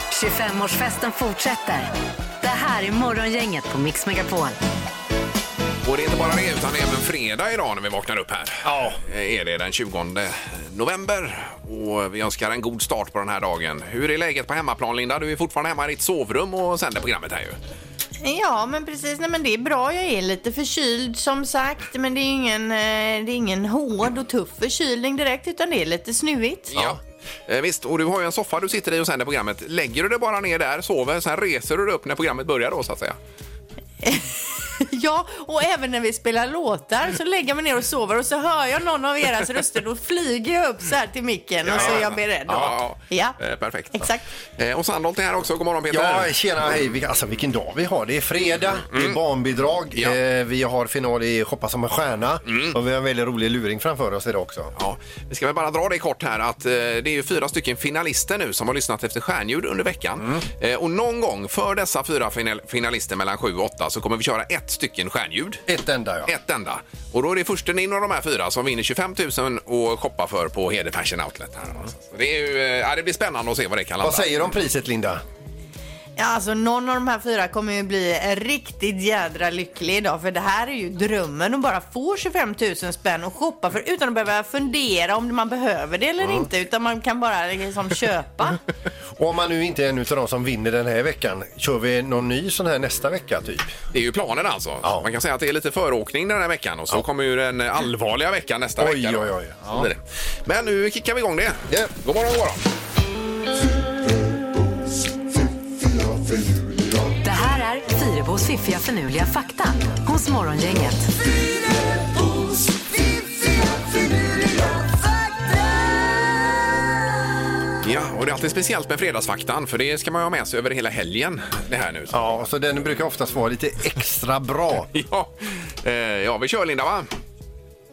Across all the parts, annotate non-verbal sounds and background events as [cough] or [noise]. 25-årsfesten fortsätter. Det här är Morgongänget på Mix Megapol. Och det är inte bara det, utan även fredag idag när vi vaknar upp här. Ja. Eh, Är det den 20 november och vi önskar en god start på den här dagen. Hur är läget på hemmaplan Linda? Du är fortfarande hemma i ditt sovrum och sänder programmet här ju. Ja, men precis. Nej, men det är bra. Jag är lite förkyld som sagt. Men det är ingen, eh, det är ingen hård och tuff förkylning direkt utan det är lite snuvigt. [laughs] Eh, Visst, och du har ju en soffa du sitter i och sänder programmet. Lägger du dig bara ner där, sover, sen reser du dig upp när programmet börjar då så att säga. Ja, och även när vi spelar låtar så lägger jag mig ner och sover och så hör jag någon av eras röster. Då flyger jag upp så här till micken och så är jag beredd. då. Ja, ja. ja. Eh, perfekt. Exakt. Eh, Och Sandholt är här också. God morgon Peter. Mm, Ja, tjena, hej. Vi- Alltså vilken dag vi har. Det är fredag, det är barnbidrag, Ja. Mm. eh, vi har final i Shoppa som en stjärna och vi har en väldigt rolig luring framför oss idag också. Ja, vi ska väl bara dra det kort här att eh, det är ju fyra stycken finalister nu som har lyssnat efter stjärnljud under veckan. Mm. Eh, och någon gång för dessa fyra final- finalister mellan sju och åtta så kommer vi köra ett stycken stjärnljud. Ett enda ja. Ett enda. Och då är det försten in av de här fyra som vinner 25 000 och shoppar för på Hede Fashion Outlet. Här. alltså. Så det, är ju, eh, ja, det blir spännande att se vad det kan landa. Mm. Vad säger du om priset Linda? Ja, alltså någon av de här fyra kommer ju bli riktigt jädra lycklig idag för det här är ju drömmen att bara få 25 000 spänn och shoppa för utan att behöva fundera om man behöver det eller inte utan man kan bara liksom köpa. Och om man nu inte är en av de som vinner den här veckan, kör vi någon ny sån här nästa vecka typ? Det är ju planen alltså. Ja. Man kan säga att det är lite föråkning den här veckan och så kommer ju den allvarliga veckan nästa Oj, vecka. då. oj, oj. Så blir det. Men nu kickar vi igång det. Ja. God morgon, god morgon. Det här är Fyrebos fiffiga förnuliga fakta hos Morgongänget. Ja, och det är alltid speciellt med Fredagsfaktan för det ska man ju ha med sig över hela helgen det här nu. Ja, så den brukar oftast vara lite extra bra. [laughs] Ja, eh, ja vi kör Linda va?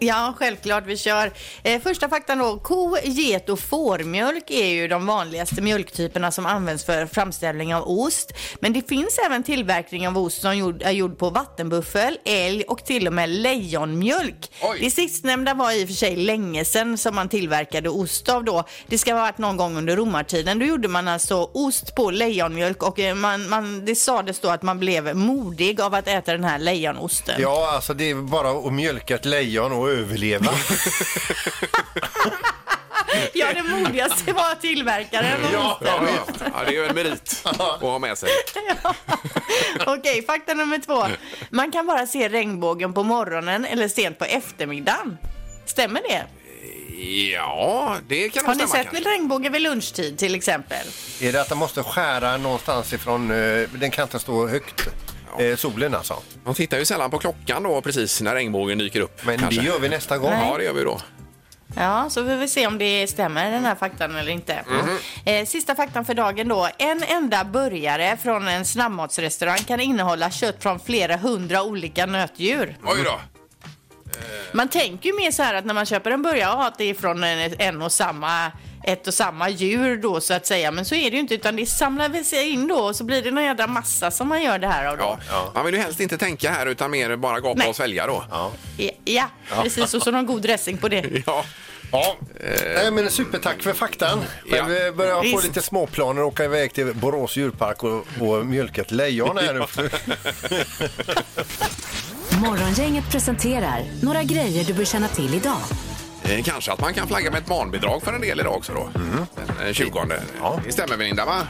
Ja, självklart vi kör. Eh, första faktan då. Ko, get och fårmjölk är ju de vanligaste mjölktyperna som används för framställning av ost. Men det finns även tillverkning av ost som gjord, är gjord på vattenbuffel, älg och till och med lejonmjölk. Oj. Det sistnämnda var i och för sig länge sedan som man tillverkade ost av då. Det ska ha varit någon gång under romartiden. Då gjorde man alltså ost på lejonmjölk och eh, man, man, det sades då att man blev modig av att äta den här lejonosten. Ja, alltså det är bara att mjölka ett lejon och överleva. Ja, det modigaste var tillverkaren. Ja, ja, [laughs] ja, det är ju en merit att ha med sig. Okej, fakta nummer två. Man kan bara se regnbågen på morgonen eller sent på eftermiddagen. Stämmer det? [laughs] Ja, det kan Har nog ni stämma. sett kanske. regnbågen vid lunchtid till exempel? är det att de måste skära någonstans ifrån, eh, den kan inte stå högt, eh, solen alltså. Man tittar ju sällan på klockan då precis när regnbågen dyker upp. Men kanske. det gör vi nästa gång. Ja, det gör vi då. Ja, så får vi se om det stämmer den här faktan eller inte. Mhm. Eh, sista faktan för dagen då. En enda burgare från en snabbmatsrestaurang kan innehålla kött från flera hundra olika nötdjur. Oj då. Man tänker ju mer så här att när man köper en burgare, ja, att det är från en, en och samma ett och samma djur då så att säga. Men så är det ju inte utan det samlar väl sig in då och så blir det någon jädra massa som man gör det här av då. Ja. Man vill ju helst inte tänka här utan mer bara gapa Nej. och svälja då. Ja. Ja, ja, precis. Och så någon god dressing på det. Ja. Eh. Ja. Nej, men supertack för faktan. Ja. Men vi börjar få Visst. lite småplaner och åka iväg till Borås djurpark och, och mjölka ett lejon här nu. Morgongänget presenterar några grejer du bör känna till idag. Eh, Kanske att man kan flagga med ett barnbidrag för en del idag också då. Den eh, 20. Mhm. Ja. Det stämmer väl Linda va?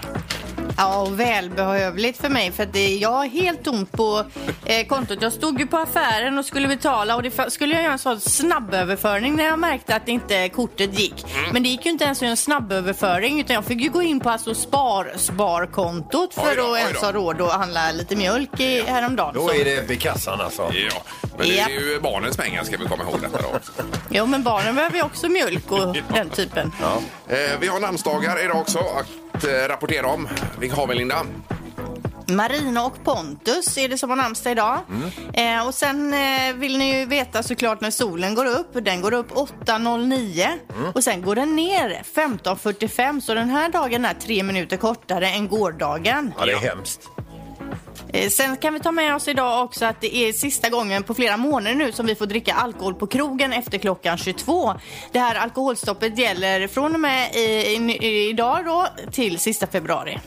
Ja, och välbehövligt för mig för att det, jag är helt tomt på eh, kontot. Jag stod ju på affären och skulle betala och det fa- skulle jag göra en sån snabböverföring när jag märkte att inte kortet gick. Mm. Men det gick ju inte ens att göra en snabböverföring utan jag fick ju gå in på alltså spar, sparkontot Oj för då, att oj ens då. ha råd att handla lite mjölk i, häromdagen. Då Så- är det vid kassan alltså. Ja. Men det Ja. är ju barnens pengar ska vi komma ihåg detta [laughs] då. också. Jo, men barnen behöver ju också mjölk [laughs] och den typen. Eh, vi har namnsdagar idag också att eh, rapportera om. Vilka har vi Linda? Marina och Pontus är det som har namnsdag idag. Mm. Mm. Eh, och sen eh, vill ni ju veta såklart när solen går upp. Den går upp 8.09 och sen går den ner 15.45 så den här dagen är tre minuter kortare än gårdagen. Ja, det är hemskt. Eh, Sen kan vi ta med oss idag också att det är sista gången på flera månader nu som vi får dricka alkohol på krogen efter klockan 22. Det här alkoholstoppet gäller från och med i, i, i, idag då till sista februari.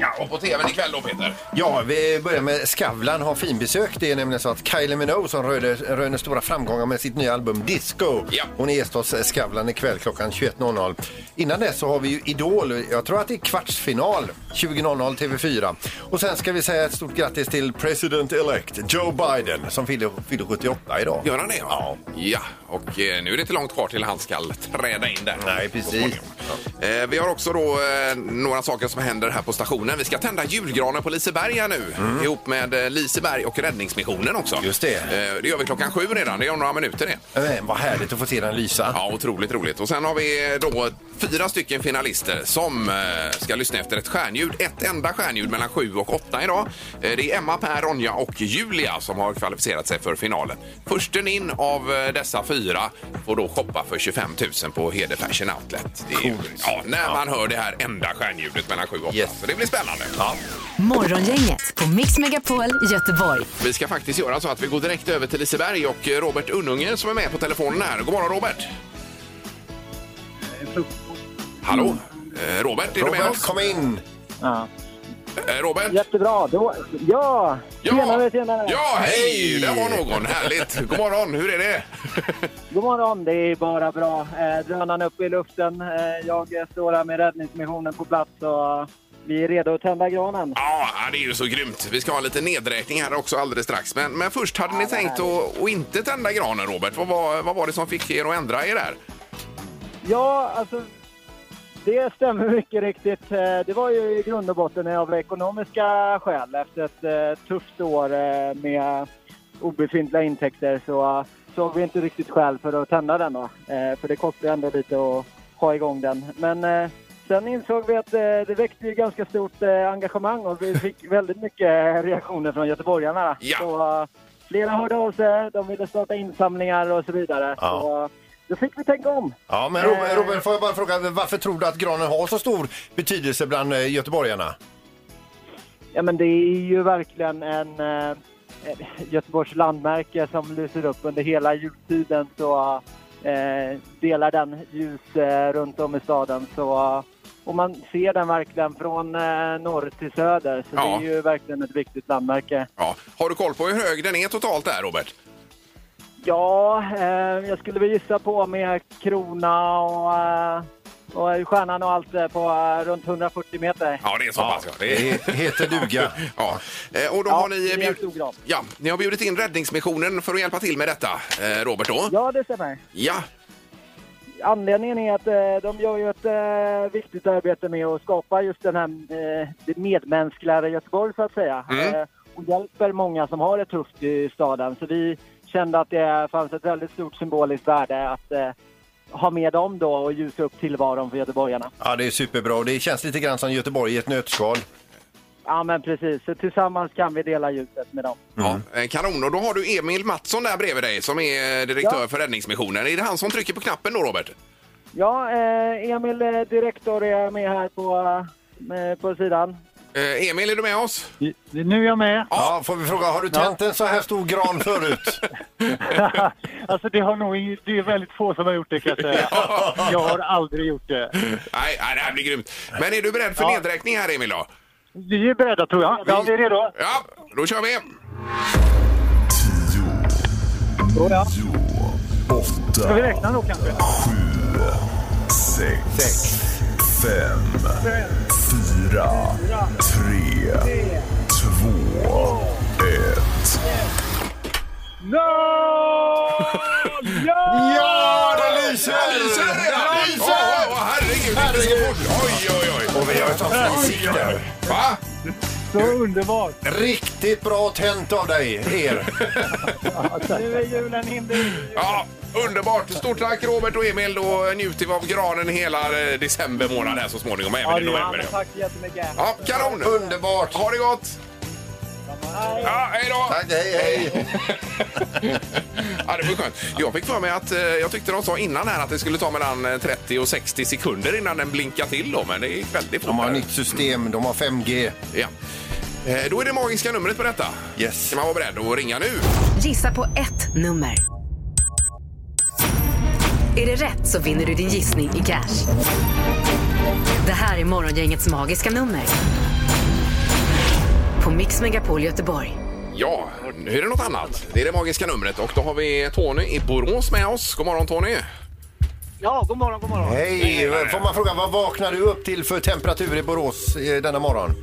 Ja, och på tvn ikväll då Peter. Ja, vi börjar med Skavlan har finbesök. Det är nämligen så att Kylie Minogue som röner, röner stora framgångar med sitt nya album Disco. Ja. Hon är gäst hos Skavlan ikväll klockan 21.00. Innan dess så har vi ju Idol. Jag tror att det är kvartsfinal 20.00 TV4. Och sen ska vi säga ett stort grattis till president-elect Joe Biden som fyller, fyller 78 idag. Gör han det? Ja. Ja, och eh, nu är det inte långt kvar till han ska träda in där. Nej, precis. Så småningom. Eh, Vi har också då eh, några saker som händer här på stationen. Vi ska tända julgranen på Liseberg här nu ihop med eh, Liseberg och Räddningsmissionen också. Mm. Just det. Eh, Det gör vi klockan sju redan. Det är om några minuter det. Men Eh, vad härligt att få se den lysa. Ja, otroligt roligt. Och sen har vi eh, då fyra stycken finalister som eh, ska lyssna efter ett stjärnljud. Ett enda stjärnljud mellan sju och åtta idag. Eh, det är Emma, Per, Ronja och Julia som har kvalificerat sig för finalen. Försten in av eh, dessa fyra får då shoppa för 25 000 på Hede Fashion Outlet. Det är, ju- Coolt. ja, när man hör det här enda stjärnljudet mellan sju och åtta. Yes. Så det blir spännande. Morgongänget på Mix Megapol Göteborg. Vi ska faktiskt göra så att vi går direkt över till Liseberg och eh, Robert Unnungen som är med på telefonen här. God morgon Robert! Hallå? Eh, Robert, är du med Robert, oss? kom in! Ja. Eh, Robert? Jättebra. Då, ja! Tjenare, tjenare! Ja, hej! Hej! Det var någon. Härligt. God morgon, hur är det? [laughs] God morgon. Det är bara bra. Eh, drönaren uppe i luften. Eh, jag står här med Räddningsmissionen på plats och eh, vi är redo att tända granen. Ja, det är ju så grymt. Vi ska ha lite nedräkning här också alldeles strax. Men, men först, hade ni tänkt att, att inte tända granen, Robert? Vad var, vad var det som fick er att ändra er där? Ja, alltså... Det stämmer mycket riktigt. Eh, Det var ju i grund och botten av ekonomiska skäl efter ett eh, tufft år eh, med obefintliga intäkter så eh, såg vi inte riktigt skäl för att tända den då. Eh, För det kostar ju ändå lite att ha igång den. Men eh, sen insåg vi att eh, det väckte ju ganska stort eh, engagemang och vi fick väldigt mycket eh, reaktioner från göteborgarna. Ja. Så, eh, flera hörde av sig, de ville starta insamlingar och så vidare. Ja. Så, eh, då fick vi tänka om. Ja, men Robert, Robert, får jag bara fråga, varför tror du att granen har så stor betydelse bland eh, göteborgarna? Ja, men det är ju verkligen en eh, Göteborgs landmärke som lyser upp under hela jultiden. Så eh, delar den ljus eh, runt om i staden. Så, eh, och man ser den verkligen från eh, norr till söder. Så Ja. det är ju verkligen ett viktigt landmärke. Ja. Har du koll på hur hög den är totalt där, Robert? Ja, eh, jag skulle väl gissa på med krona och, eh, och stjärnan och allt eh, på eh, runt 140 meter. Ja, det är så pass. Ja. Det är... Det heter duga. [laughs] Ja. Eh, Och då Ja, har ni, det är en bjud... stor gran. ja, ni har bjudit in Räddningsmissionen för att hjälpa till med detta, eh, Robert. Då. Ja, det stämmer. ja. Anledningen är att eh, de gör ju ett eh, viktigt arbete med att skapa just den här eh, det medmänskligare Göteborg så att säga. Mm. Eh, och hjälper många som har det tufft i staden. Så vi kände att det fanns ett väldigt stort symboliskt värde att eh, ha med dem då och ljusa upp tillvaron för göteborgarna. Ja, det är superbra och det känns lite grann som Göteborg i ett nötskal. Ja men precis, så tillsammans kan vi dela ljuset med dem. Ja, eh, kanon. Och då har du Emil Mattsson där bredvid dig som är direktör för Räddningsmissionen. Är det han som trycker på knappen då, Robert? Ja, eh, Emil eh, Direktor är med här på, eh, på sidan. Eh, Emil, är du med oss? Nu är jag med. Ja, får vi fråga, har du tänt en så här stor gran [laughs] förut? [laughs] alltså det, har nog, det är väldigt få som har gjort det kan jag [laughs] säga. Jag har aldrig gjort det. Nej, nej, det här blir grymt. Men är du beredd för nedräkning här, Emil? Då? Vi är beredda tror jag. Ja, vi är redo. Ja, då kör vi! Då, ja. Ska vi räkna då kanske? Sex. No! [laughs] Ja! Ja, det lyser! Det lyser redan! Det Åh, lyser! åh, åh, herregud, det är så fort! Oj, oj, oj! Och vi har ett avsnitt där. Va? Så underbart! Riktigt bra tänt av dig, er. [laughs] Nu är julen inne. [laughs] Ja, underbart! Stort tack, Robert och Emil. Då njuter vi av granen hela eh, december månad här så småningom, även i november. tack så jättemycket. Ja, kanon! Underbart! Ha det gott! Ja, hej då! Tack, hej, hej! Ja, det var skönt. Jag fick för mig att eh, jag tyckte de sa innan här att det skulle ta mellan eh, 30 och 60 sekunder innan den blinkade till då, men det gick väldigt fort. De har här. nytt system, de har 5G. Ja. Eh, Då är det magiska numret på detta. Yes. Ska man vara beredd att ringa nu? Gissa på ett nummer. Är det rätt så vinner du din gissning i cash. Det här är Morgongängets magiska nummer. På Mix Megapol Göteborg. Ja, nu är det något annat. Det är det magiska numret och då har vi Tony i Borås med oss. God morgon Tony! Ja, god morgon, god morgon. Eh, Hej! Får man fråga, vad vaknar du upp till för temperatur i Borås eh, denna morgon?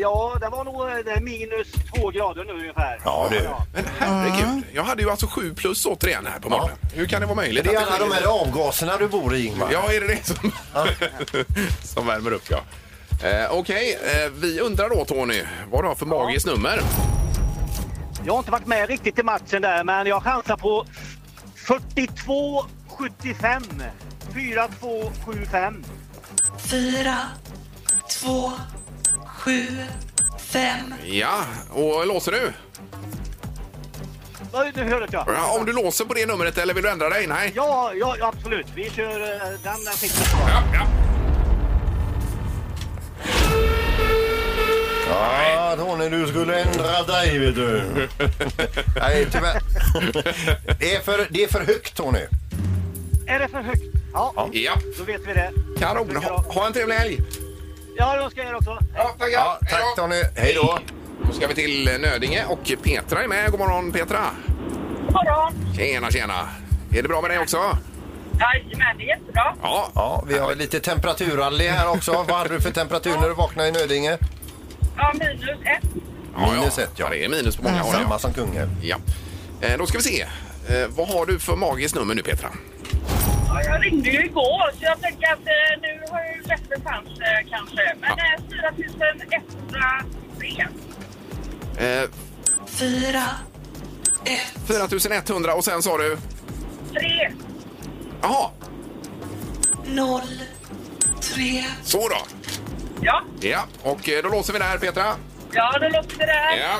Ja, det var nog eh, det är minus två grader nu ungefär. Ja, du. Men herregud, jag hade ju alltså 7 plus återigen här på morgonen. Hur kan det vara möjligt? Det är att alla de här avgaserna du bor i, Ingmar. Ja, är det det som, [laughs] som värmer upp ja. Eh, Okej, eh, vi undrar då Tony, vad du har för magiskt nummer? Jag har inte varit med riktigt i matchen där, men jag chansar på 42 75. 4 2 7 5. fyra, två, sju, fem. Ja, och låser du? Oj, nu hörde jag. Ja, om du låser på det numret eller vill du ändra dig? Nej. Ja, ja, ja, absolut. Vi kör eh, den där sista. Ja, ja. Ja, Tony, du skulle ändra dig, vet du. Nej, tyvärr. Det är för, det är för högt, Tony. Är det för högt? Ja, ja. då vet vi det. Kanon, ha, ha en trevlig helg! Ja, det önskar jag er också. Ja, [laughs] tackar! Ja, tack, Tony. Hej då. Då ska vi till Nödinge och Petra är med. God morgon Petra! God morgon! Tjena, tjena! Är det bra med dig också? Jajamän, det är jättebra. Ja. Ja, vi har lite temperaturrally här också. Vad hade du för temperatur när du vaknade i Nödinge? Ja, minus ett. ja, Minus ett, ja. Det är minus på många Alltså. håll. Samma som kungen. Ja. Ja. Eh, Då ska vi se. Eh, Vad har du för magiskt nummer nu Petra? Ja, jag ringde ju igår så jag tänker att eh, nu har jag ju bättre chans eh, kanske. Men eh, 4103. Eh, Fyra, 4100 och sen sa du? 3. Jaha, noll, tre. så då. Ja, Ja, och eh, då låser vi där Petra. ja då låter det där. Ja.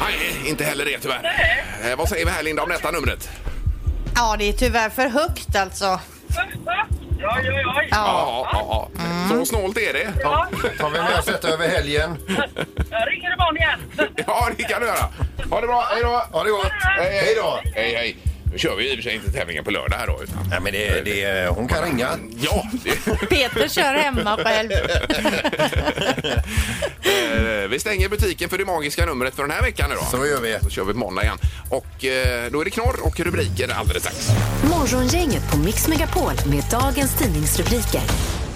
Nej, inte heller det tyvärr. Nej. Eh, vad säger vi här Linda om detta numret? Ja, det är tyvärr för högt alltså. Ja, ja, ja. ja. Ja, ja, ja. Så snålt är det. ja. Tar vi med oss detta över helgen? Jag ringer imorgon igen. [laughs] Ja, det kan du göra. Ha det bra, hej då! Ha det gott! Hej då! Hej, hej. Nu kör vi ju i och för sig inte tävlingen på lördag här då. Utan... Nej, men det, det, hon kan ringa. Ja, det... Peter kör hemma själv. Eh, Vi stänger butiken för det magiska numret för den här veckan idag. Så gör vi. Så kör vi på måndag igen. Och eh, då är det knorr och rubriker alldeles strax. Morgongänget på Mix Megapol med dagens tidningsrubriker.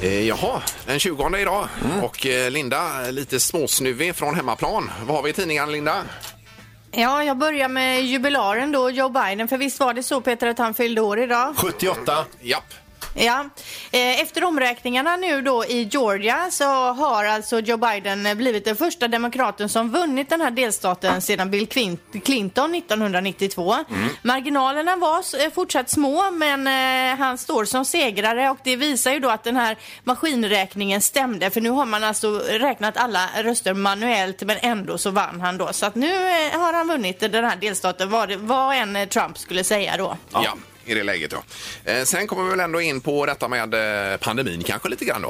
Eh, jaha, den 20 idag. Mm. Och eh, Linda, lite småsnuvig från hemmaplan. Vad har vi i tidningen Linda? Ja, jag börjar med jubilaren då, Joe Biden. För visst var det så Peter att han fyllde år idag? 78. Japp. Ja. Eh, Efter omräkningarna nu då i Georgia så har alltså Joe Biden blivit den första demokraten som vunnit den här delstaten sedan Bill Quin- Clinton 1992. Marginalerna var s- eh, fortsatt små men eh, han står som segrare och det visar ju då att den här maskinräkningen stämde för nu har man alltså räknat alla röster manuellt men ändå så vann han då. Så att nu eh, har han vunnit den här delstaten vad, det- vad än eh, Trump skulle säga då. Ja. i det läget ja. Eh, Sen kommer vi väl ändå in på detta med eh, pandemin kanske lite grann då.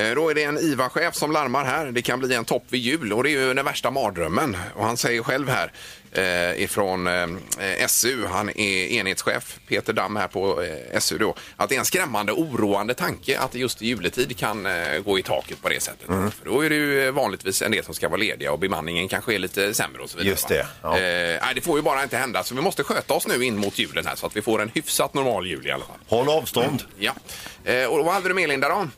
Eh, Då är det en IVA-chef som larmar här. Det kan bli en topp vid jul och det är ju den värsta mardrömmen. Och han säger själv här eh, ifrån eh, SU, han är enhetschef, Peter Damm här på eh, SU då, att det är en skrämmande oroande tanke att det just i juletid kan eh, gå i taket på det sättet. Mm. För då är det ju eh, vanligtvis en del som ska vara lediga och bemanningen kanske är lite sämre och så vidare. Just va? det, ja. Eh, Eh, nej, det får ju bara inte hända. Så vi måste sköta oss nu in mot julen här så att vi får en hyfsat normal jul i alla fall. Håll avstånd. Ja. Eh, och vad hade du med Linda då?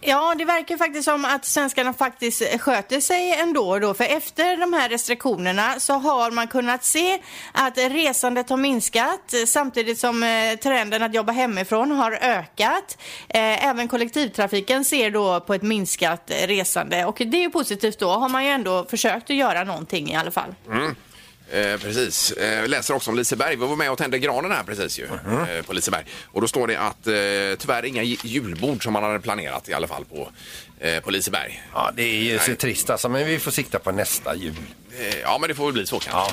Ja, det verkar faktiskt som att svenskarna faktiskt sköter sig ändå då, för efter de här restriktionerna så har man kunnat se att resandet har minskat eh, samtidigt som eh, trenden att jobba hemifrån har ökat. Eh, även kollektivtrafiken ser då på ett minskat eh, resande och det är ju positivt då, har man ju ändå försökt att göra någonting i alla fall. Eh, precis. Eh, läser också om Liseberg. Vi var med och tände granen här precis ju. Mm-hmm. Eh, på Liseberg. Och då står det att eh, tyvärr inga j- julbord som man hade planerat i alla fall på, eh, på Liseberg. Ja, det är ju så Nej. trist alltså, men vi får sikta på nästa jul. Eh, Ja, men det får väl bli så kanske.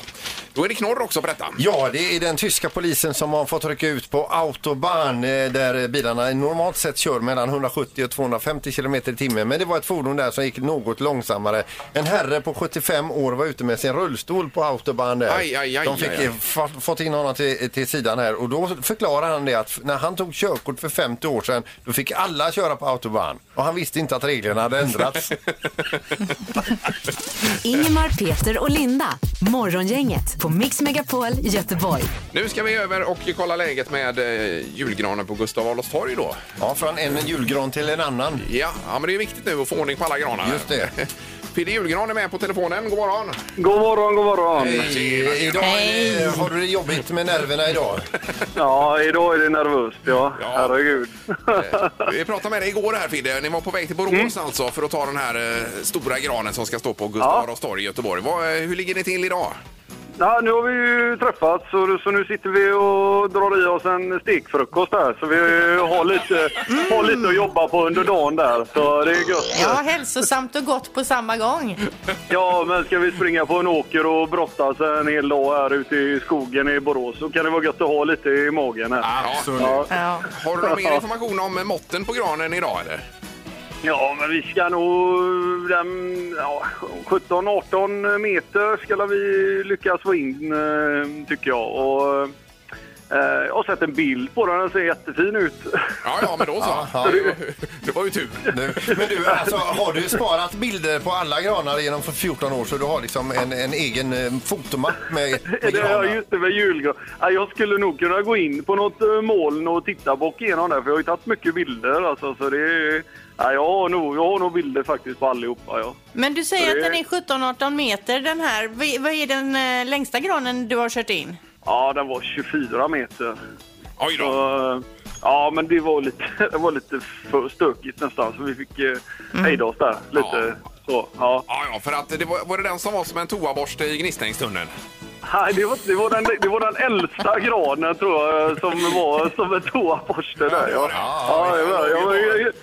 Då är det knorr också på detta. Ja, det är den tyska polisen som har fått rycka ut på autobahn eh, där bilarna normalt sett kör mellan 170 och 250 km i timmen. Men det var ett fordon där som gick något långsammare. En herre på 75 år var ute med sin rullstol på autobahn där. Aj, aj, aj, De fick aj, aj. eh, fa- fått in honom till, till sidan här och då förklarar han det att när han tog körkort för 50 år sedan då fick alla köra på autobahn och han visste inte att reglerna hade [laughs] ändrats. Ingemar, Peter och Linda. Morgongänget på Mix Megapol Göteborg. Nu ska vi över och kolla läget med eh, julgranen på Gustav Adolfs torg då. Ja, från en julgran till en annan. Ja, ja, men det är viktigt nu att få ordning på alla granar. här. Just [laughs] det. Peder Julgran är med på telefonen. God morgon! God morgon, god morgon. Tjena, tjena. Idag eh, har du det jobbigt med nerverna idag. Ja, idag är det nervöst, ja. Ja. Herregud. Eh, Vi pratade med dig igår här Fidde. Ni var på väg till Borås Mm. alltså för att ta den här eh, stora granen som ska stå på Gustav Ja. Adolfs torg i Göteborg. Vad, eh, hur ligger ni till idag? Ja, nu har vi ju träffats så, så nu sitter vi och drar i oss en stekfrukost här. Så vi har lite, har lite att jobba på under dagen där. Så det är gött. Ja, hälsosamt och gott på samma gång. Ja, men ska vi springa på en åker och brottas en hel dag här ute i skogen i Borås så kan det vara gött att ha lite i magen här. Ja. Ja, Ja. Har du någon mer information om eh, måtten på granen idag eller? ja men vi ska nog... den- Ja, 17-18 meter ska vi lyckas få in, eh, tycker jag. Och, eh, jag har sett en bild på den, den ser jättefin ut. Ja, ja, men då så. ja. Det var- Det var [laughs] ju tur. Nu. Men du, alltså, har du sparat bilder på alla granar genom för 14 år så du har liksom en, en egen eh, fotomapp med, med Det är granar? just det med julgran. Ja, Jag skulle nog kunna gå in på något eh, moln och titta bak igenom där för jag har ju tagit mycket bilder. Alltså, så det är, ja, jag, har nog, jag har nog bilder faktiskt på allihopa. Ja. Men du säger att den är 17-18 meter den här. V- Vad är den eh, längsta granen du har kört in? ja, den var 24 meter. Oj Så, då. eh, ja, men det var lite, [laughs] det var lite för stökigt nästan så vi fick eh, hejda oss där lite. Så, ja. Ja, ja, för att det var, var det den som var som en toaborste i Gnistängstunneln? Nej, det, var, det, var den, det var den äldsta granen tror jag som var som en toaborste där. Ja, Ja. Ja, ja, ja, ja, ja, ja, men-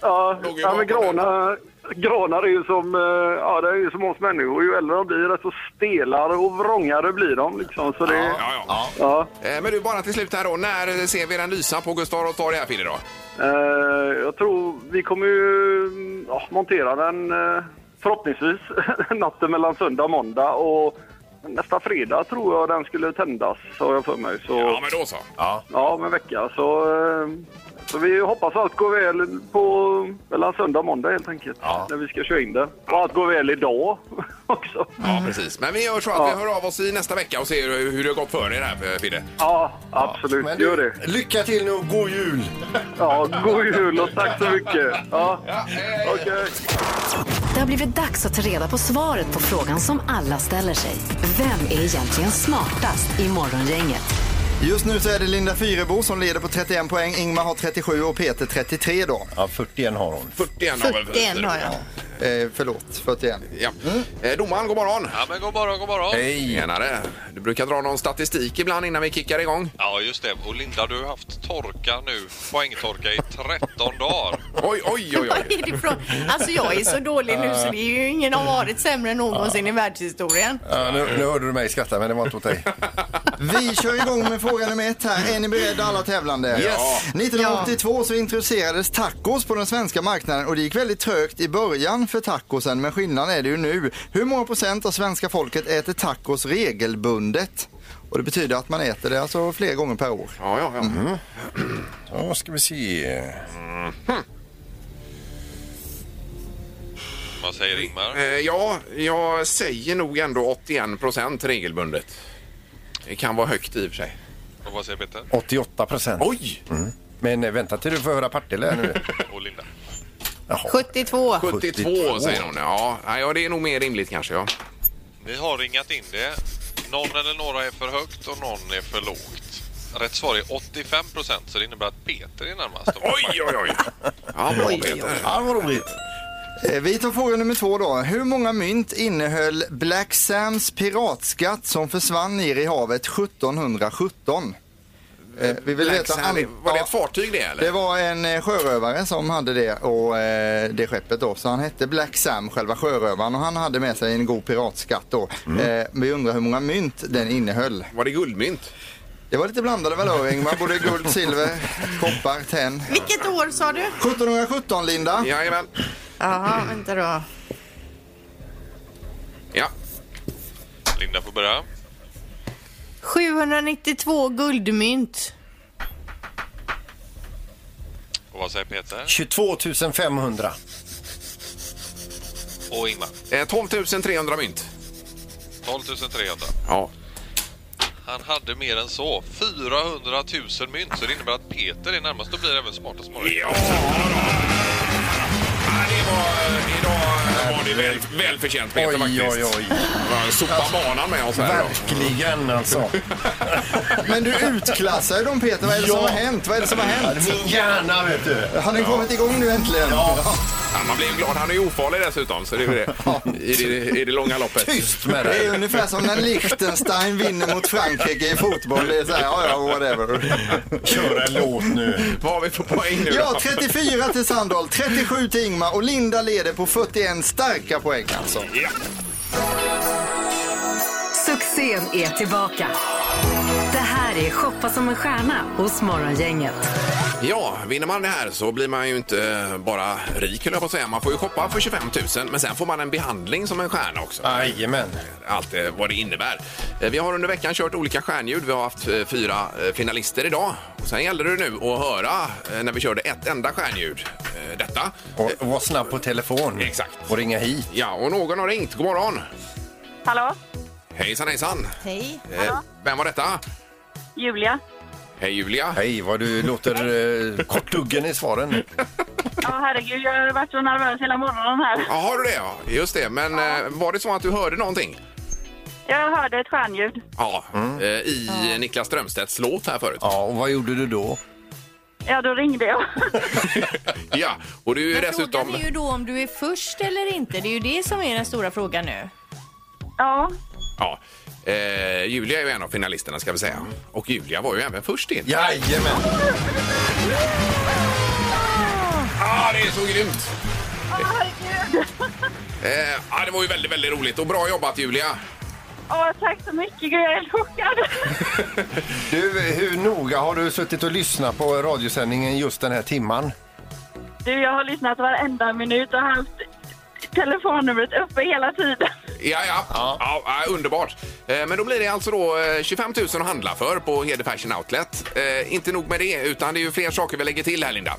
ja, Låg ju ja, men bakom den. granar, granar är ju som, eh, ja, det är ju som oss människor. Ju äldre de blir, desto stelare och vrångare blir de. Liksom. Så det, ja, ja, ja. ja. Eh, Men du, bara till slut här då. När ser vi den lysa på Gustav Adolfs torg här Fidde då? Eh, jag tror vi kommer ju mm, ja, montera den eh, förhoppningsvis [laughs] natten mellan söndag och måndag. Och nästa fredag tror jag den skulle tändas, har jag för mig. Så, Ja, men då så. Ja, om en vecka. Så, eh, så vi hoppas allt går väl på mellan söndag och måndag helt enkelt. När vi ska köra in det. Och allt går väl idag också. Ja, precis. Men vi gör så att Ja. vi hör av oss i nästa vecka och ser hur hur det har gått för er här eh, Fidde. Ja, absolut. Men Gör det. du, lycka till nu och god jul! Ja, god jul och tack så mycket. Ja, okej. Det har blivit dags att ta reda på svaret på frågan som alla ställer sig. Vem är egentligen smartast i Morgongänget? Just nu så är det Linda Fyrebo som leder på 31 poäng, Ingmar har 37 och Peter 33 då. Ja, 41 har hon. 41 har väl 41 har jag. Eh, förlåt, 41. Ja. Eh, Domaren, god morgon! Ja, men god morgon, god morgon. Hej! Tjenare! Du brukar dra någon statistik ibland innan vi kickar igång. Ja, just det. Och Linda, du har haft torka nu, poängtorka i 13 dagar. [laughs] Oj, oj, oj! Var oj. är det ifrån? Alltså jag är så dålig nu så det är ju ingen har varit sämre än någonsin i världshistorien. Ja, nu, nu hörde du mig skratta men det var inte åt dig. Vi kör igång med fråga nummer ett här. Är ni beredda alla tävlande? Yes. 1982 så introducerades tacos på den svenska marknaden och det gick väldigt trögt i början för tacosen men skillnaden är det ju nu. Hur många procent av svenska folket äter tacos regelbundet? Och det betyder att man äter det alltså flera gånger per år. Mm. Ja, ja, Mm. ja. Ja, ska vi se. Mm. Vad säger Ingmar? Eh, ja, jag säger nog ändå 81 procent regelbundet. Det kan vara högt i och för sig. Och vad säger Peter? 88 procent. Oj! Men eh, vänta till du får höra Partille här nu. [laughs] Och Linda? 72. 72, 72. säger hon. Ja, nej, ja, det är nog mer rimligt kanske. Ja. Ni har ringat in det. Någon eller några är för högt och någon är för lågt. Rätt svar är 85 procent, så det innebär att Peter är närmast. Oj, oj, oj! Ja, bra Peter. Ja, vad roligt. Eh, Vi tar fråga nummer två då. Hur många mynt innehöll Black Sams piratskatt som försvann ner i havet 1717? Eh, vi vill Black veta Sand, an- var det ja. ett fartyg det eller? Det var en eh, sjörövare som hade det och eh, det skeppet då. Så han hette Black Sam, själva sjörövaren. Och han hade med sig en god piratskatt då. Eh, vi undrar hur många mynt den innehöll. Mm. Var det guldmynt? Det var lite blandade valörer Ingmar. Både [laughs] guld, silver, koppar, tenn. Vilket år sa du? 1717 Linda. Jajamän. Jaha, vänta då. Ja. Linda får börja. 792 guldmynt. Och vad säger Peter? 22 500. Och Ingmar. Eh, 12 300 mynt. 12 300. Ja. Han hade mer än så. 400 000 mynt. Så det innebär att Peter är närmast och blir även smartast morgon. Ja! då. Ja, det var, idag var det väl, välförtjänt Peter Oj, faktiskt. oj, oj. Ja, Sopa banan med oss här. då. Verkligen alltså. Men du utklassar ju dem Peter. Vad är det som Ja. har hänt? Vad är det som har hänt? Min hjärna vet du. Har den kommit igång nu äntligen? Ja, man blev glad. Han är ju ofarlig dessutom, så det är väl det. I, det, i det långa loppet. Tyst med Det dig. är ungefär som när Liechtenstein vinner mot Frankrike i fotboll. Det är så här, ja, ja, whatever. Kör en låt nu. Vad har vi för poäng nu Ja, då? 34 till Sandahl, 37 till Ingmar och Linda leder på 41 starka poäng alltså. Ja. Succén är tillbaka. Det här är Shoppa som en stjärna hos Morgongänget. ja, vinner man det här så blir man ju inte bara rik, höll jag på att säga. Man får ju shoppa för 25 000, men sen får man en behandling som en stjärna också. Jajamän. allt eh, vad det innebär. Eh, Vi har under veckan kört olika stjärnljud. Vi har haft eh, fyra eh, finalister idag. Och sen gällde det nu att höra eh, när vi körde ett enda stjärnljud. eh, Detta. Och och var snabb på telefon. Exakt. Och ringa hit. Ja, och någon har ringt. God morgon! Hallå? Hejsan hejsan! Hej. Eh, Vem var detta? Julia? Hej Julia! Hej, vad du låter eh, kortuggen i svaren. Ja, herregud, jag har varit så nervös hela morgonen här. Ja, har du det? Ja, just det. Men eh, var det så att du hörde någonting? Jag hörde ett stjärnljud. Ja, eh, i Niklas Strömstedts låt här förut. Mm. Ja, och vad gjorde du då? Ja, då ringde jag. Ja, och du är ju Men dessutom... Frågan är ju då om du är först eller inte. Det är ju det som är den stora frågan nu. Ja, Ja, eh, Julia är ju en av finalisterna ska vi säga. Och Julia var ju även först in. Jajamän. Ja, det är så grymt! herregud. Eh, ja, det var ju väldigt, väldigt roligt och bra jobbat Julia. [laughs] Åh, tack så mycket. Gud, jag är chockad. Du, hur noga har du suttit och lyssnat på radiosändningen just den här timman? Du, jag har lyssnat varenda minut och haft telefonnumret uppe hela tiden. Ja, ja. ja. ja, underbart. Eh, men då blir det alltså då eh, 25 000 att handla för på Hede Fashion Outlet. Eh, inte nog med det, utan det är ju fler saker vi lägger till här Linda.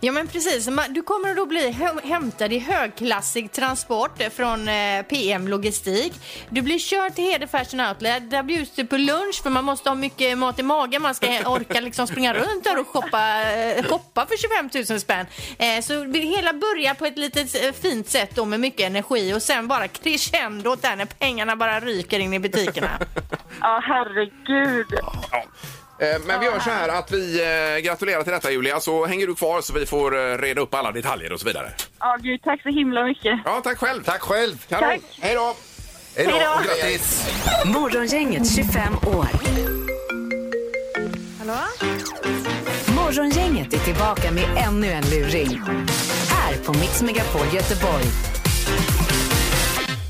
Ja men precis, Man- du kommer att då bli hö- hämtad i högklassig transport från eh, PM Logistik. Du blir körd till Hede Fashion Outlet, där bjuds du på lunch för man måste ha mycket mat i magen, man ska orka liksom springa runt där och shoppa, eh, shoppa för 25 000 spänn. Eh, så det hela börjar på ett litet eh, fint sätt då med mycket energi och sen bara crescendot där när pengarna bara ryker in i [laughs] butikerna. Ja, herregud. Ja. Eh, Men vi gör så här att vi eh, gratulerar till detta Julia, så hänger du kvar så vi får eh, reda upp alla detaljer och så vidare. Ja, gud, tack så himla mycket. Ja, tack själv! Tack själv. Kanon. Tack. Hej då! Hej då Hej då. och grattis. Morgongänget 25 år. Hallå? Morgongänget är tillbaka med ännu en luring. Här på Mix Megapol Göteborg.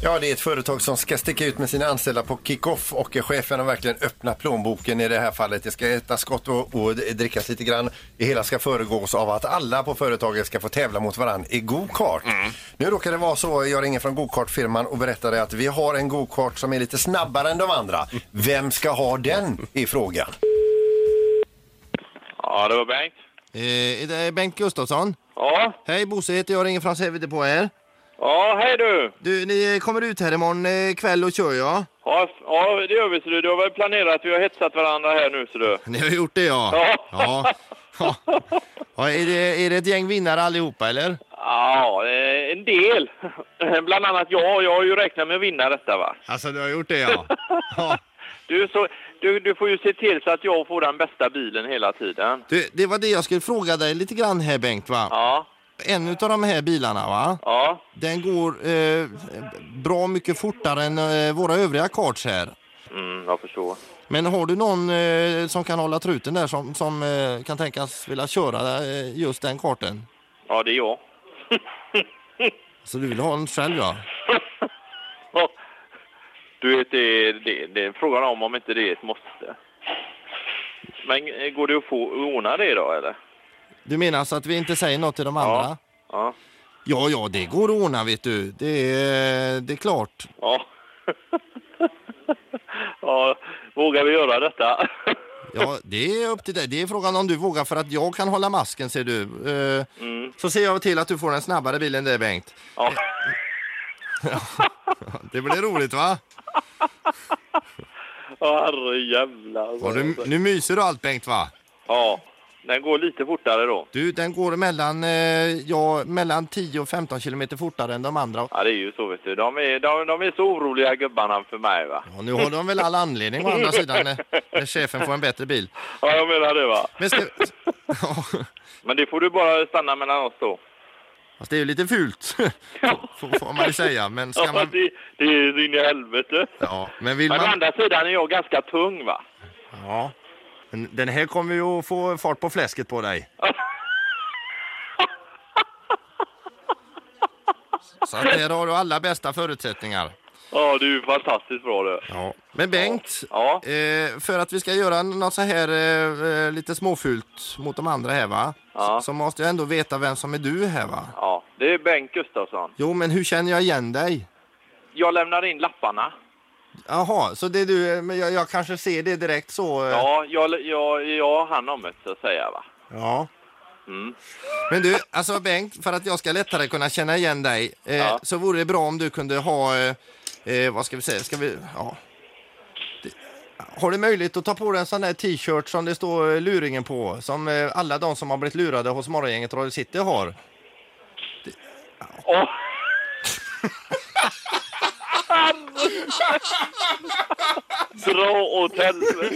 Ja, det är ett företag som ska sticka ut med sina anställda på kick-off och chefen har verkligen öppnat plånboken i det här fallet. Det ska ätas gott och, och drickas lite grann. Det hela ska föregås av att alla på företaget ska få tävla mot varandra i go-kart. Nu råkar det vara så, jag ringer från go-kartfirman och berättade att vi har en go-kart som är lite snabbare än de andra. Vem ska ha den i frågan? Ja, det var Bengt. Eh, det är Bengt Gustafsson. Ja, Hej, Bosse heter jag, ringer från Sävede på er. ja hej du. Du, ni eh, kommer ut här imorgon eh, kväll och kör ja? Ja, f- ja, det gör vi så du. Du har väl planerat, vi har hetsat varandra här nu så du. [laughs] Ni har gjort det ja? Ja. ja. ja är, det, är det ett gäng vinnare allihopa eller? Ja, eh, en del. [laughs] Bland annat jag, jag har ju räknat med att vinna detta va. Alltså du har gjort det ja? ja. Du, så, du, du får ju se till så att jag får den bästa bilen hela tiden. Du, det var det jag skulle fråga dig lite grann här Bengt va? Ja, En utav de här bilarna va? ja, Den går eh, bra mycket fortare än eh, våra övriga karts här. mm, jag förstår. Men har du någon eh, som kan hålla truten där som, som eh, kan tänkas vilja köra eh, just den [laughs] kartan? Ja, det är jag. Så du vill ha en själv ja? Du vet, det, det, det är frågan om om inte det är ett måste. Men eh, går det att få ordna det då, eller? Du menar så att vi inte säger något till de andra? Ja. Ja, ja, det går att ordna vet du. Det är, det är klart. Ja. [laughs] ja, vågar vi göra detta? [laughs] Ja, det är upp till dig. Det är frågan om du vågar för att jag kan hålla masken ser du. Eh, Mm. Så ser jag till att du får den snabbare bilen där Bengt. [laughs] Ja. det blir roligt va? Ja, herrejävlar. Och du, nu myser du allt Bengt va? Ja, den går lite fortare då. Du, den går mellan, eh, ja, mellan 10 och 15 kilometer fortare än de andra. Ja, det är ju så, vet du. De är, de, de är så oroliga gubbarna för mig, va? Ja, nu har de väl all anledning å andra sidan när, när chefen får en bättre bil. Ja, jag menar det, va? Men, [laughs] Men det får du bara stanna mellan oss då. Fast det är ju lite fult, [laughs] får får man ju säga. Men, ska Ja, man, det, det är så in i helvete. ja, men vill Men å man... andra sidan är jag ganska tung, va? Ja. Men Den här kommer ju att få fart på fläsket på dig. [laughs] Så att där har du alla bästa förutsättningar. Ja, du är fantastiskt bra, du. Ja. Men Bengt, Eh, för att vi ska göra något så här eh, eh, lite småfult mot de andra här va? Ja. Så, så måste jag ändå veta vem som är du här va? Ja, det är Bengt Gustafsson. Jo men hur känner jag igen dig? Jag lämnar in lapparna. Jaha, så det är du, eh, men jag, jag kanske ser det direkt så? eh. Ja, jag, jag, jag har hand om det, så att säga, va? ja. Mm. Men du, alltså Bengt, för att jag ska lättare kunna känna igen dig eh, Ja. så vore det bra om du kunde ha, eh, eh, vad ska vi säga, ska vi, ja. Det- Har du möjlighet att ta på dig en sån där t-shirt som det står eh, luringen på, som eh, alla de som har blivit lurade hos Morgongänget Radio City har? Åh. Dra åt helvete.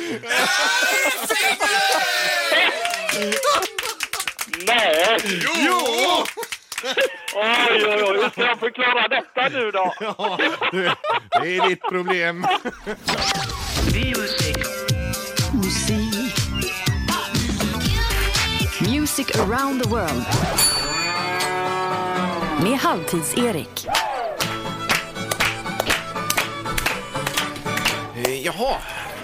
Nej! Jo! Oj, oj, oj. Hur ska jag förklara detta [laughs] nu då? Det är ditt problem. Musik. Music around the world. Med Halvtids-Erik. Eh, Jaha,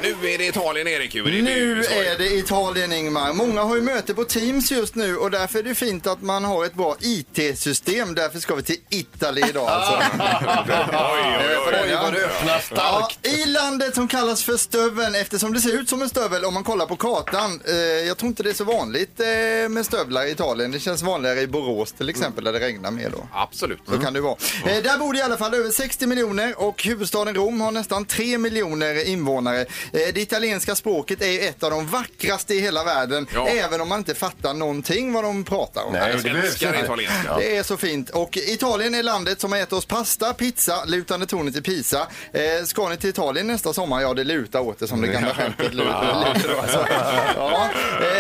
nu är det Italien, Erik. Ju. Det är Nu du som- är det Italien Ingmar. Många har ju möte på Teams just nu och därför är det fint att man har ett bra IT-system. Därför ska vi till Italy idag [laughs] alltså. Oj, vad du öppnar starkt. Ja, I landet som kallas för stöveln eftersom det ser ut som en stövel om man kollar på kartan. Eh, jag tror inte det är så vanligt eh, med stövlar i Italien. Det känns vanligare i Borås till exempel där det regnar mer då. Absolut. Så kan det vara. Eh, där bor det i alla fall över 60 miljoner och huvudstaden Rom har nästan 3 miljoner invånare. Eh, det italienska språket är ju ett av de vackraste i hela världen. Ja. Även om man inte fattar någonting vad de pratar om. Nej, det Jag behövs älskar inte. italienska. Det är så fint. Och Italien är landet som har gett oss pasta, pizza, lutande tornet i Pisa. Eh, ska ni till Italien nästa sommar? Ja, det lutar åt det som [laughs] det gamla skämtet lutar. lutar alltså. ja.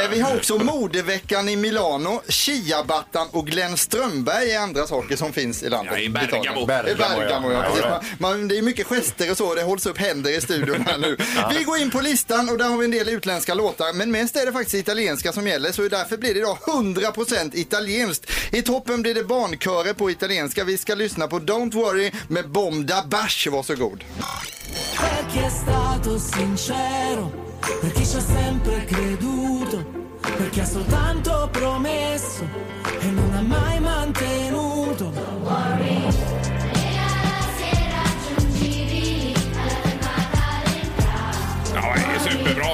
eh, vi har också modeveckan i Milano, Chiabattan och Glenn Strömberg är andra saker som finns i landet. Ja, i Bergamo. Italien. Bergamo, I Bergamo, ja. ja. precis. Ja, Man, man, det är mycket gester och så. Det hålls upp händer i studion [laughs] här nu. Vi går in på listan och där har vi en del utländska låtar. Men mest är det faktiskt italienska som gäller. Så därför blir det idag 100% italienskt. I toppen blir det barnkörer på italienska. Vi ska lyssna på Don't Worry med Bom da Bash. Varsågod. Chi è stato sincero, per chi ci ha sempre creduto, per chi ha soltanto promesso e non ha mai mantenuto. Ja, det är superbra.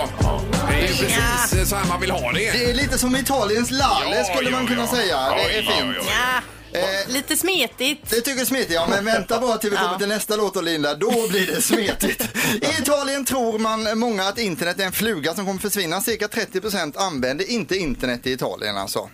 Det är ju precis eh, så här man vill ha det. Det är lite som Italiens Lale Ja, skulle ja, man kunna ja. säga. Det är Oj, oj, fint. oj. Ja, Eh, lite smetigt. Det tycker Smetigt, ja men vänta bara till vi kommer till nästa låt och Linda, då blir det smetigt. I Italien tror man många att internet är en fluga som kommer försvinna. Cirka 30% använder inte internet i Italien alltså.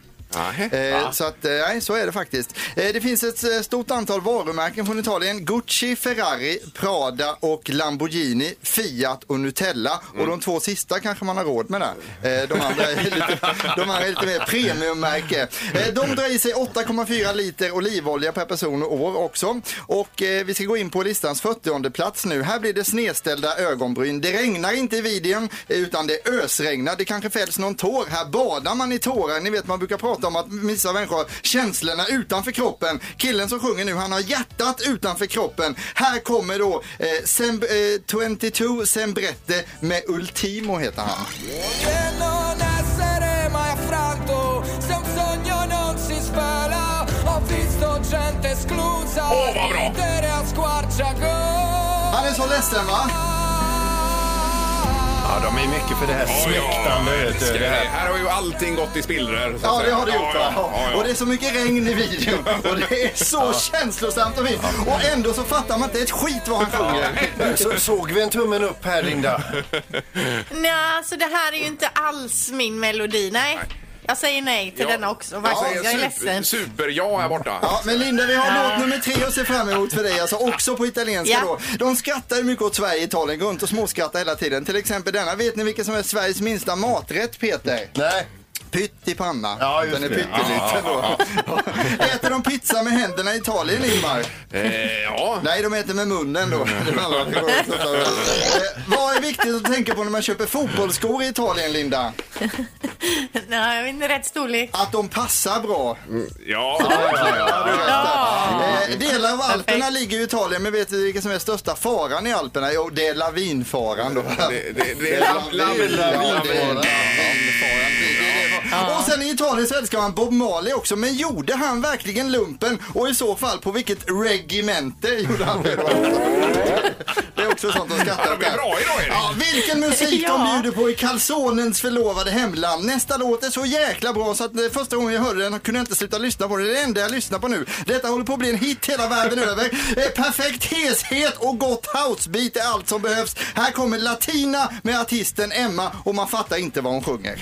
Eh, så att, eh, nej, så är det faktiskt. Eh, det finns ett eh, stort antal varumärken från Italien. Gucci, Ferrari, Prada och Lamborghini, Fiat och Nutella. Och de två sista kanske man har råd med där. Eh, de andra är lite, de andra är lite mer premiummärke. Eh, de drar i sig 8,4 liter olivolja per person och år också. Och eh, vi ska gå in på listans 40 plats nu. Här blir det snedställda ögonbryn. Det regnar inte i videon eh, utan det ösregnar. Det kanske fälls någon tår. Här badar man i tårar. Ni vet man brukar prata om att vissa människor har känslorna utanför kroppen. Killen som sjunger nu han har hjärtat utanför kroppen. Här kommer då eh, Sem, eh, 22 Sembrette med Ultimo heter han. Che non essere mai affranto, se un sogno non si spela, ho visto gente esclusa, oh, ridere a squarciagola. Adesso ledsen va? Ja, de är mycket för det här smäktande. vet du. Ska vi- Det här- Här har ju allting gått i spillror. så att Ja, det säga. har det gjort. Ja, va? ja, ja, ja. Och det är så mycket regn i videon. Och det är så känslosamt och fint. Och ändå så fattar man inte ett skit vad han sjunger. Så, såg vi en tummen upp här, Linda? Nej, alltså det här är ju inte alls min melodi. Nej. Jag säger nej till Ja. denna också. Jag Verkligen. säger Jag är super- ledsen. Super-ja här borta. Ja, men Linda, vi har låt nummer tre att se fram emot för dig, alltså också på italienska Ja. då. De skrattar ju mycket åt Sverige i Italien, går runt och småskrattar hela tiden. Till exempel denna, vet ni vilken som är Sveriges minsta maträtt, Peter? Nej. Pyttipanna. Ja, just Den är det. pytteliten då. Äter de pizza med händerna i Italien, Ingmar? Eh, ja. Nej, de äter med munnen då. Det var alla, det går inte att ta över. Eh, Vad är viktigt att tänka på när man köper fotbollsskor i Italien, Linda? [laughs] Nej, jag är inte rätt storlek. Att de passar bra. Mm. Ja. Mm. Eh, delar av Alperna ligger ju i Italien, men vet du vilken som är största faran i Alperna? Jo, det är lavinfaran då. Det, det, det är lam- lam- Ja, det är lavinfaran. Det är det. Och sen i Italien så älskar man Bob Marley också, men gjorde han verkligen lumpen? Och i så fall på vilket regemente gjorde han det? Det är också sånt de skrattar Ja, de är bra idag, Erik. Ja, vilken musik de Ja. bjuder på i kalsonens förlovade hemland. Nästa låt är så jäkla bra så att eh, första gången jag hörde den kunde jag inte sluta lyssna på den. Det är det enda jag lyssnar på nu. Detta håller på att bli en hit hela världen över. Eh, Perfekt heshet och gott housebeat är allt som behövs. Här kommer Latina med artisten Emma och man fattar inte vad hon sjunger.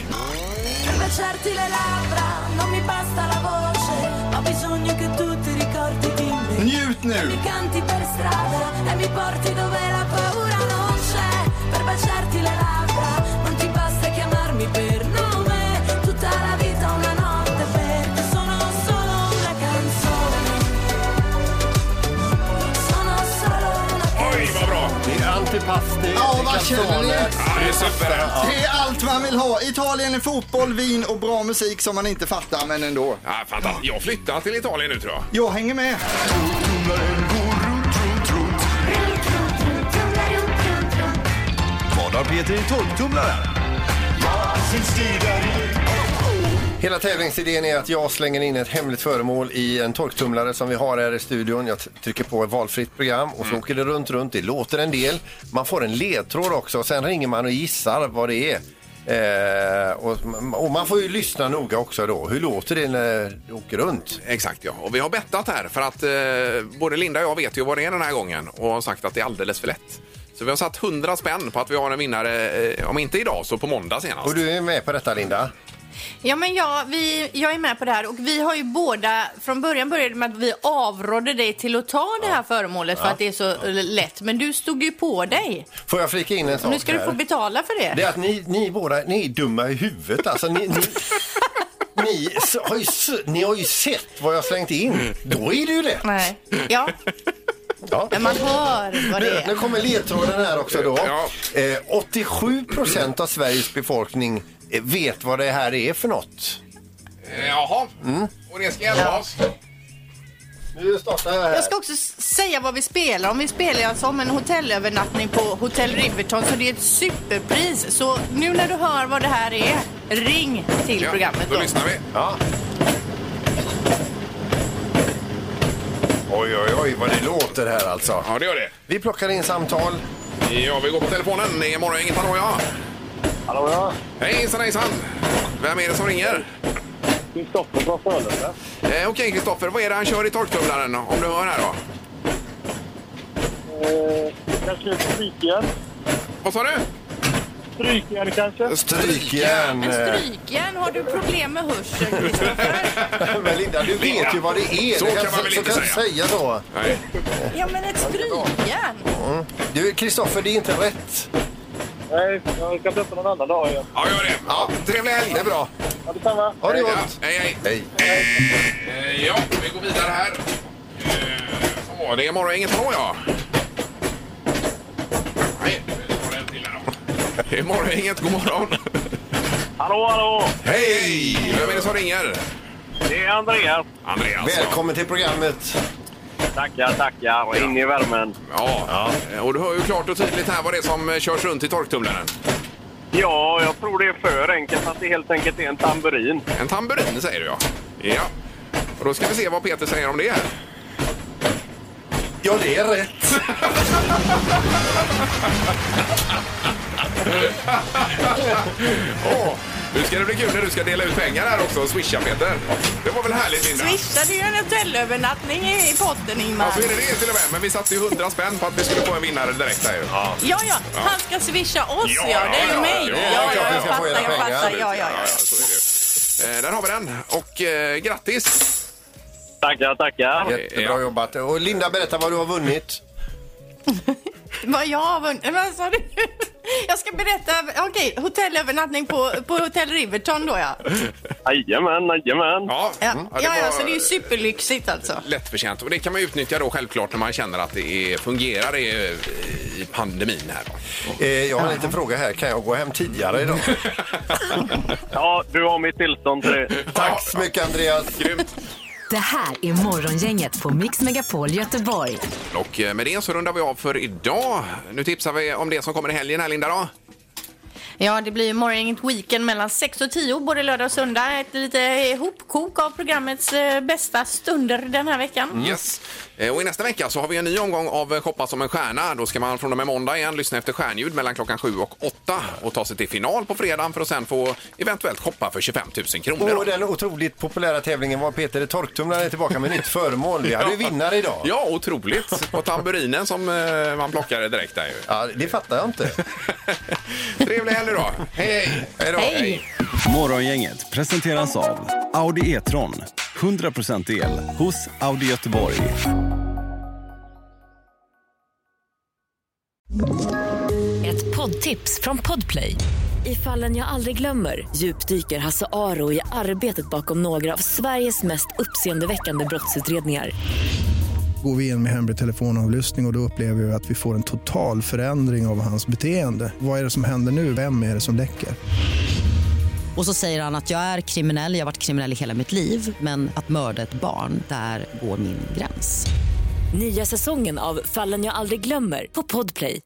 Per baciarti le labbra, non mi basta la voce, ho bisogno che tu ti ricordi di me. Njut nu! Mi canti per strada e mi porti dove la paura non c'è. Per baciarti le labbra, non ti basta chiamarmi per nome. Tutta la vita una notte perché sono solo una canzone. Sono solo una Oj, vad bra! Det är antipass, det är Ja, vad känner ni? Ja, det är super. Det är allt man vill ha. Italien är fotboll, vin och bra musik som man inte fattar, men ändå. Ja, fantastiskt. Jag flyttar till Italien nu tror jag. Jag hänger med. Vad har Peter i tolvtumlaren? Hela tävlingsidén är att jag slänger in ett hemligt föremål i en torktumlare som vi har här i studion. Jag t- trycker på ett valfritt program och så Mm. åker det runt, runt. Det låter en del. Man får en ledtråd också. Sen ringer man och gissar vad det är. Eh, och, och man får ju lyssna noga också då. Hur låter det när det åker runt? Exakt ja. Och vi har bettat här för att eh, både Linda och jag vet ju vad det är den här gången och har sagt att det är alldeles för lätt. Så vi har satt 100 spänn på att vi har en vinnare, eh, om inte idag så på måndag senast. Och du är med på detta Linda? Ja, men jag, vi, jag är med på det här och vi har ju båda, från början började det med att vi avrådde dig till att ta det här föremålet för att det är så eh, lätt. Men du stod ju på dig. Får jag flika in en Och sak nu ska du här? få betala för Det det. är att ni, ni båda, ni är dumma i huvudet alltså. Ni, ni, ni, s- har ju, s- ni har ju sett vad jag slängt in. Då är det ju lätt. Nej. Ja, Ja. men man hör vad det Nu, nu är. kommer ledtråden här också då. Ja. Eh, 87 procent av Sveriges befolkning eh, vet vad det här är för något. Mm. Eh, Jaha, och det ska hjälpa oss. Nu startar jag här. Jag ska också s- säga vad vi spelar om. Vi spelar ju alltså om en hotellövernattning på Hotel Riverton så det är ett superpris. Så nu när du hör vad det här är, ring till Ja, programmet Då då. lyssnar vi. Ja. Oj, oj, oj vad det låter här alltså. Ja, det gör det. Vi plockar in samtal. Ja, vi går på telefonen. Det är Morgongänget. Hallå ja! Hallå ja, Hej, Hejsan hejsan! Vem är det som ringer? Kristoffer från Frölunda. Eh, Okej Kristoffer, vad är det han kör i torktumlaren om du hör här då? Eh, jag ska ut på Viken. Vad sa du? Strykjärn kanske? Strykjärn. En strykjärn, har du problem med hörseln? Men Linda, du vet ju vad det är. Så Du kan man väl så inte kan säga. säga då. Ja men ett strykjärn! Mm. Du, Kristoffer, det är inte rätt. Nej, jag ska testa någon annan dag igen. Ja, gör det. Ja, trevlig helg. Det är bra. Ja, detsamma. Ha det Ja, gott. Hej, hej. Hej. Eh, Ja, vi går vidare här. Eh, Så, det är morgon, inget hallå ja. Nej, det var en till här [laughs] då. Det är morgon, inget god morgon. Hallå, hallå! Hej, hej! Vem är det som ringer? Det är Andreas. Andreas. ja. Välkommen till programmet. Tackar, tackar. In i värmen. Ja, eh, och du hör ju klart och tydligt här vad det är som eh, körs runt i torktumlaren. Ja, jag tror det är för enkelt att det helt enkelt är en tamburin. En tamburin säger du ja. Ja. Och då ska vi se vad Peter säger om det. här. Ja, det är rätt. [laughs] Åh, nu ska det bli kul när du ska dela ut pengar här också och swisha Peter. Det var väl härligt Linda? Swisha, det är ju en hotellövernattning i potten Ingmar. Ja, så är det det till och med. Men vi satte ju 100 spänn på att vi skulle få en vinnare direkt här ju. Ja. Ja, ja, han ska swisha oss ja, det är ju mig. ja, Ja, klart ja, vi jag ska få fattar, era jag pengar. fattar. Ja, ja, ja. så är det ju. Eh, Där har vi den. Och eh, grattis! Tackar, tackar. Jättebra jobbat. Och Linda, berätta vad du har vunnit. Vad jag har vunnit? Men Vad sa du? [laughs] Jag ska berätta, okej, hotellövernattning på, på Hotell Riverton då ja. Jajamän, jajamän. Ja, Ja, Mm. ja, ja så det är ju superlyxigt alltså. lättförtjänt. Och det kan man utnyttja då självklart när man känner att det är, fungerar i, i pandemin [laughs] här. då. Eh, jag har en liten fråga här. Kan jag gå hem tidigare [laughs] idag? Ja, du har mitt tillstånd till det. Tack så mycket, Andreas. Grymt! Det här är Morgongänget på Mix Megapol Göteborg. Och eh, med det så rundar vi av för idag. Nu tipsar vi om det som kommer i helgen här Linda då. Ja, det blir ju Morgongänget Weekend mellan 6 och 10 både lördag och söndag. Ett lite hopkok av programmets eh, bästa stunder den här veckan. Yes. Eh, Och i nästa vecka så har vi en ny omgång av eh, Shoppa som en stjärna. Då ska man från och med måndag igen lyssna efter stjärnljud mellan klockan 7 och 8 och ta sig till final på fredagen för att sen få eventuellt shoppa för 25 000 kronor. då. Och den otroligt populära tävlingen var Peter i torktumlaren är tillbaka med nytt föremål. Vi hade ju vinnare idag. [laughs] Ja, otroligt. Och tamburinen som eh, man plockade direkt där ju. Ja, det fattar jag inte. [laughs] Trevlig helg då. Hej! Hej då! Hej. Morgongänget presenteras av Audi E-tron. 100% el hos Audi Göteborg. Ett poddtips från Podplay. I fallen jag aldrig glömmer djupdyker Hasse Aro i arbetet bakom några av Sveriges mest uppseendeväckande brottsutredningar. Går vi in med hemlig telefonavlyssning och, och då upplever vi att vi får en total förändring av hans beteende. Vad är det som händer nu? Vem är det som läcker? Och så säger han att jag är kriminell, jag har varit kriminell i hela mitt liv men att mörda ett barn, där går min gräns. Nya säsongen av Fallen jag aldrig glömmer på Podplay.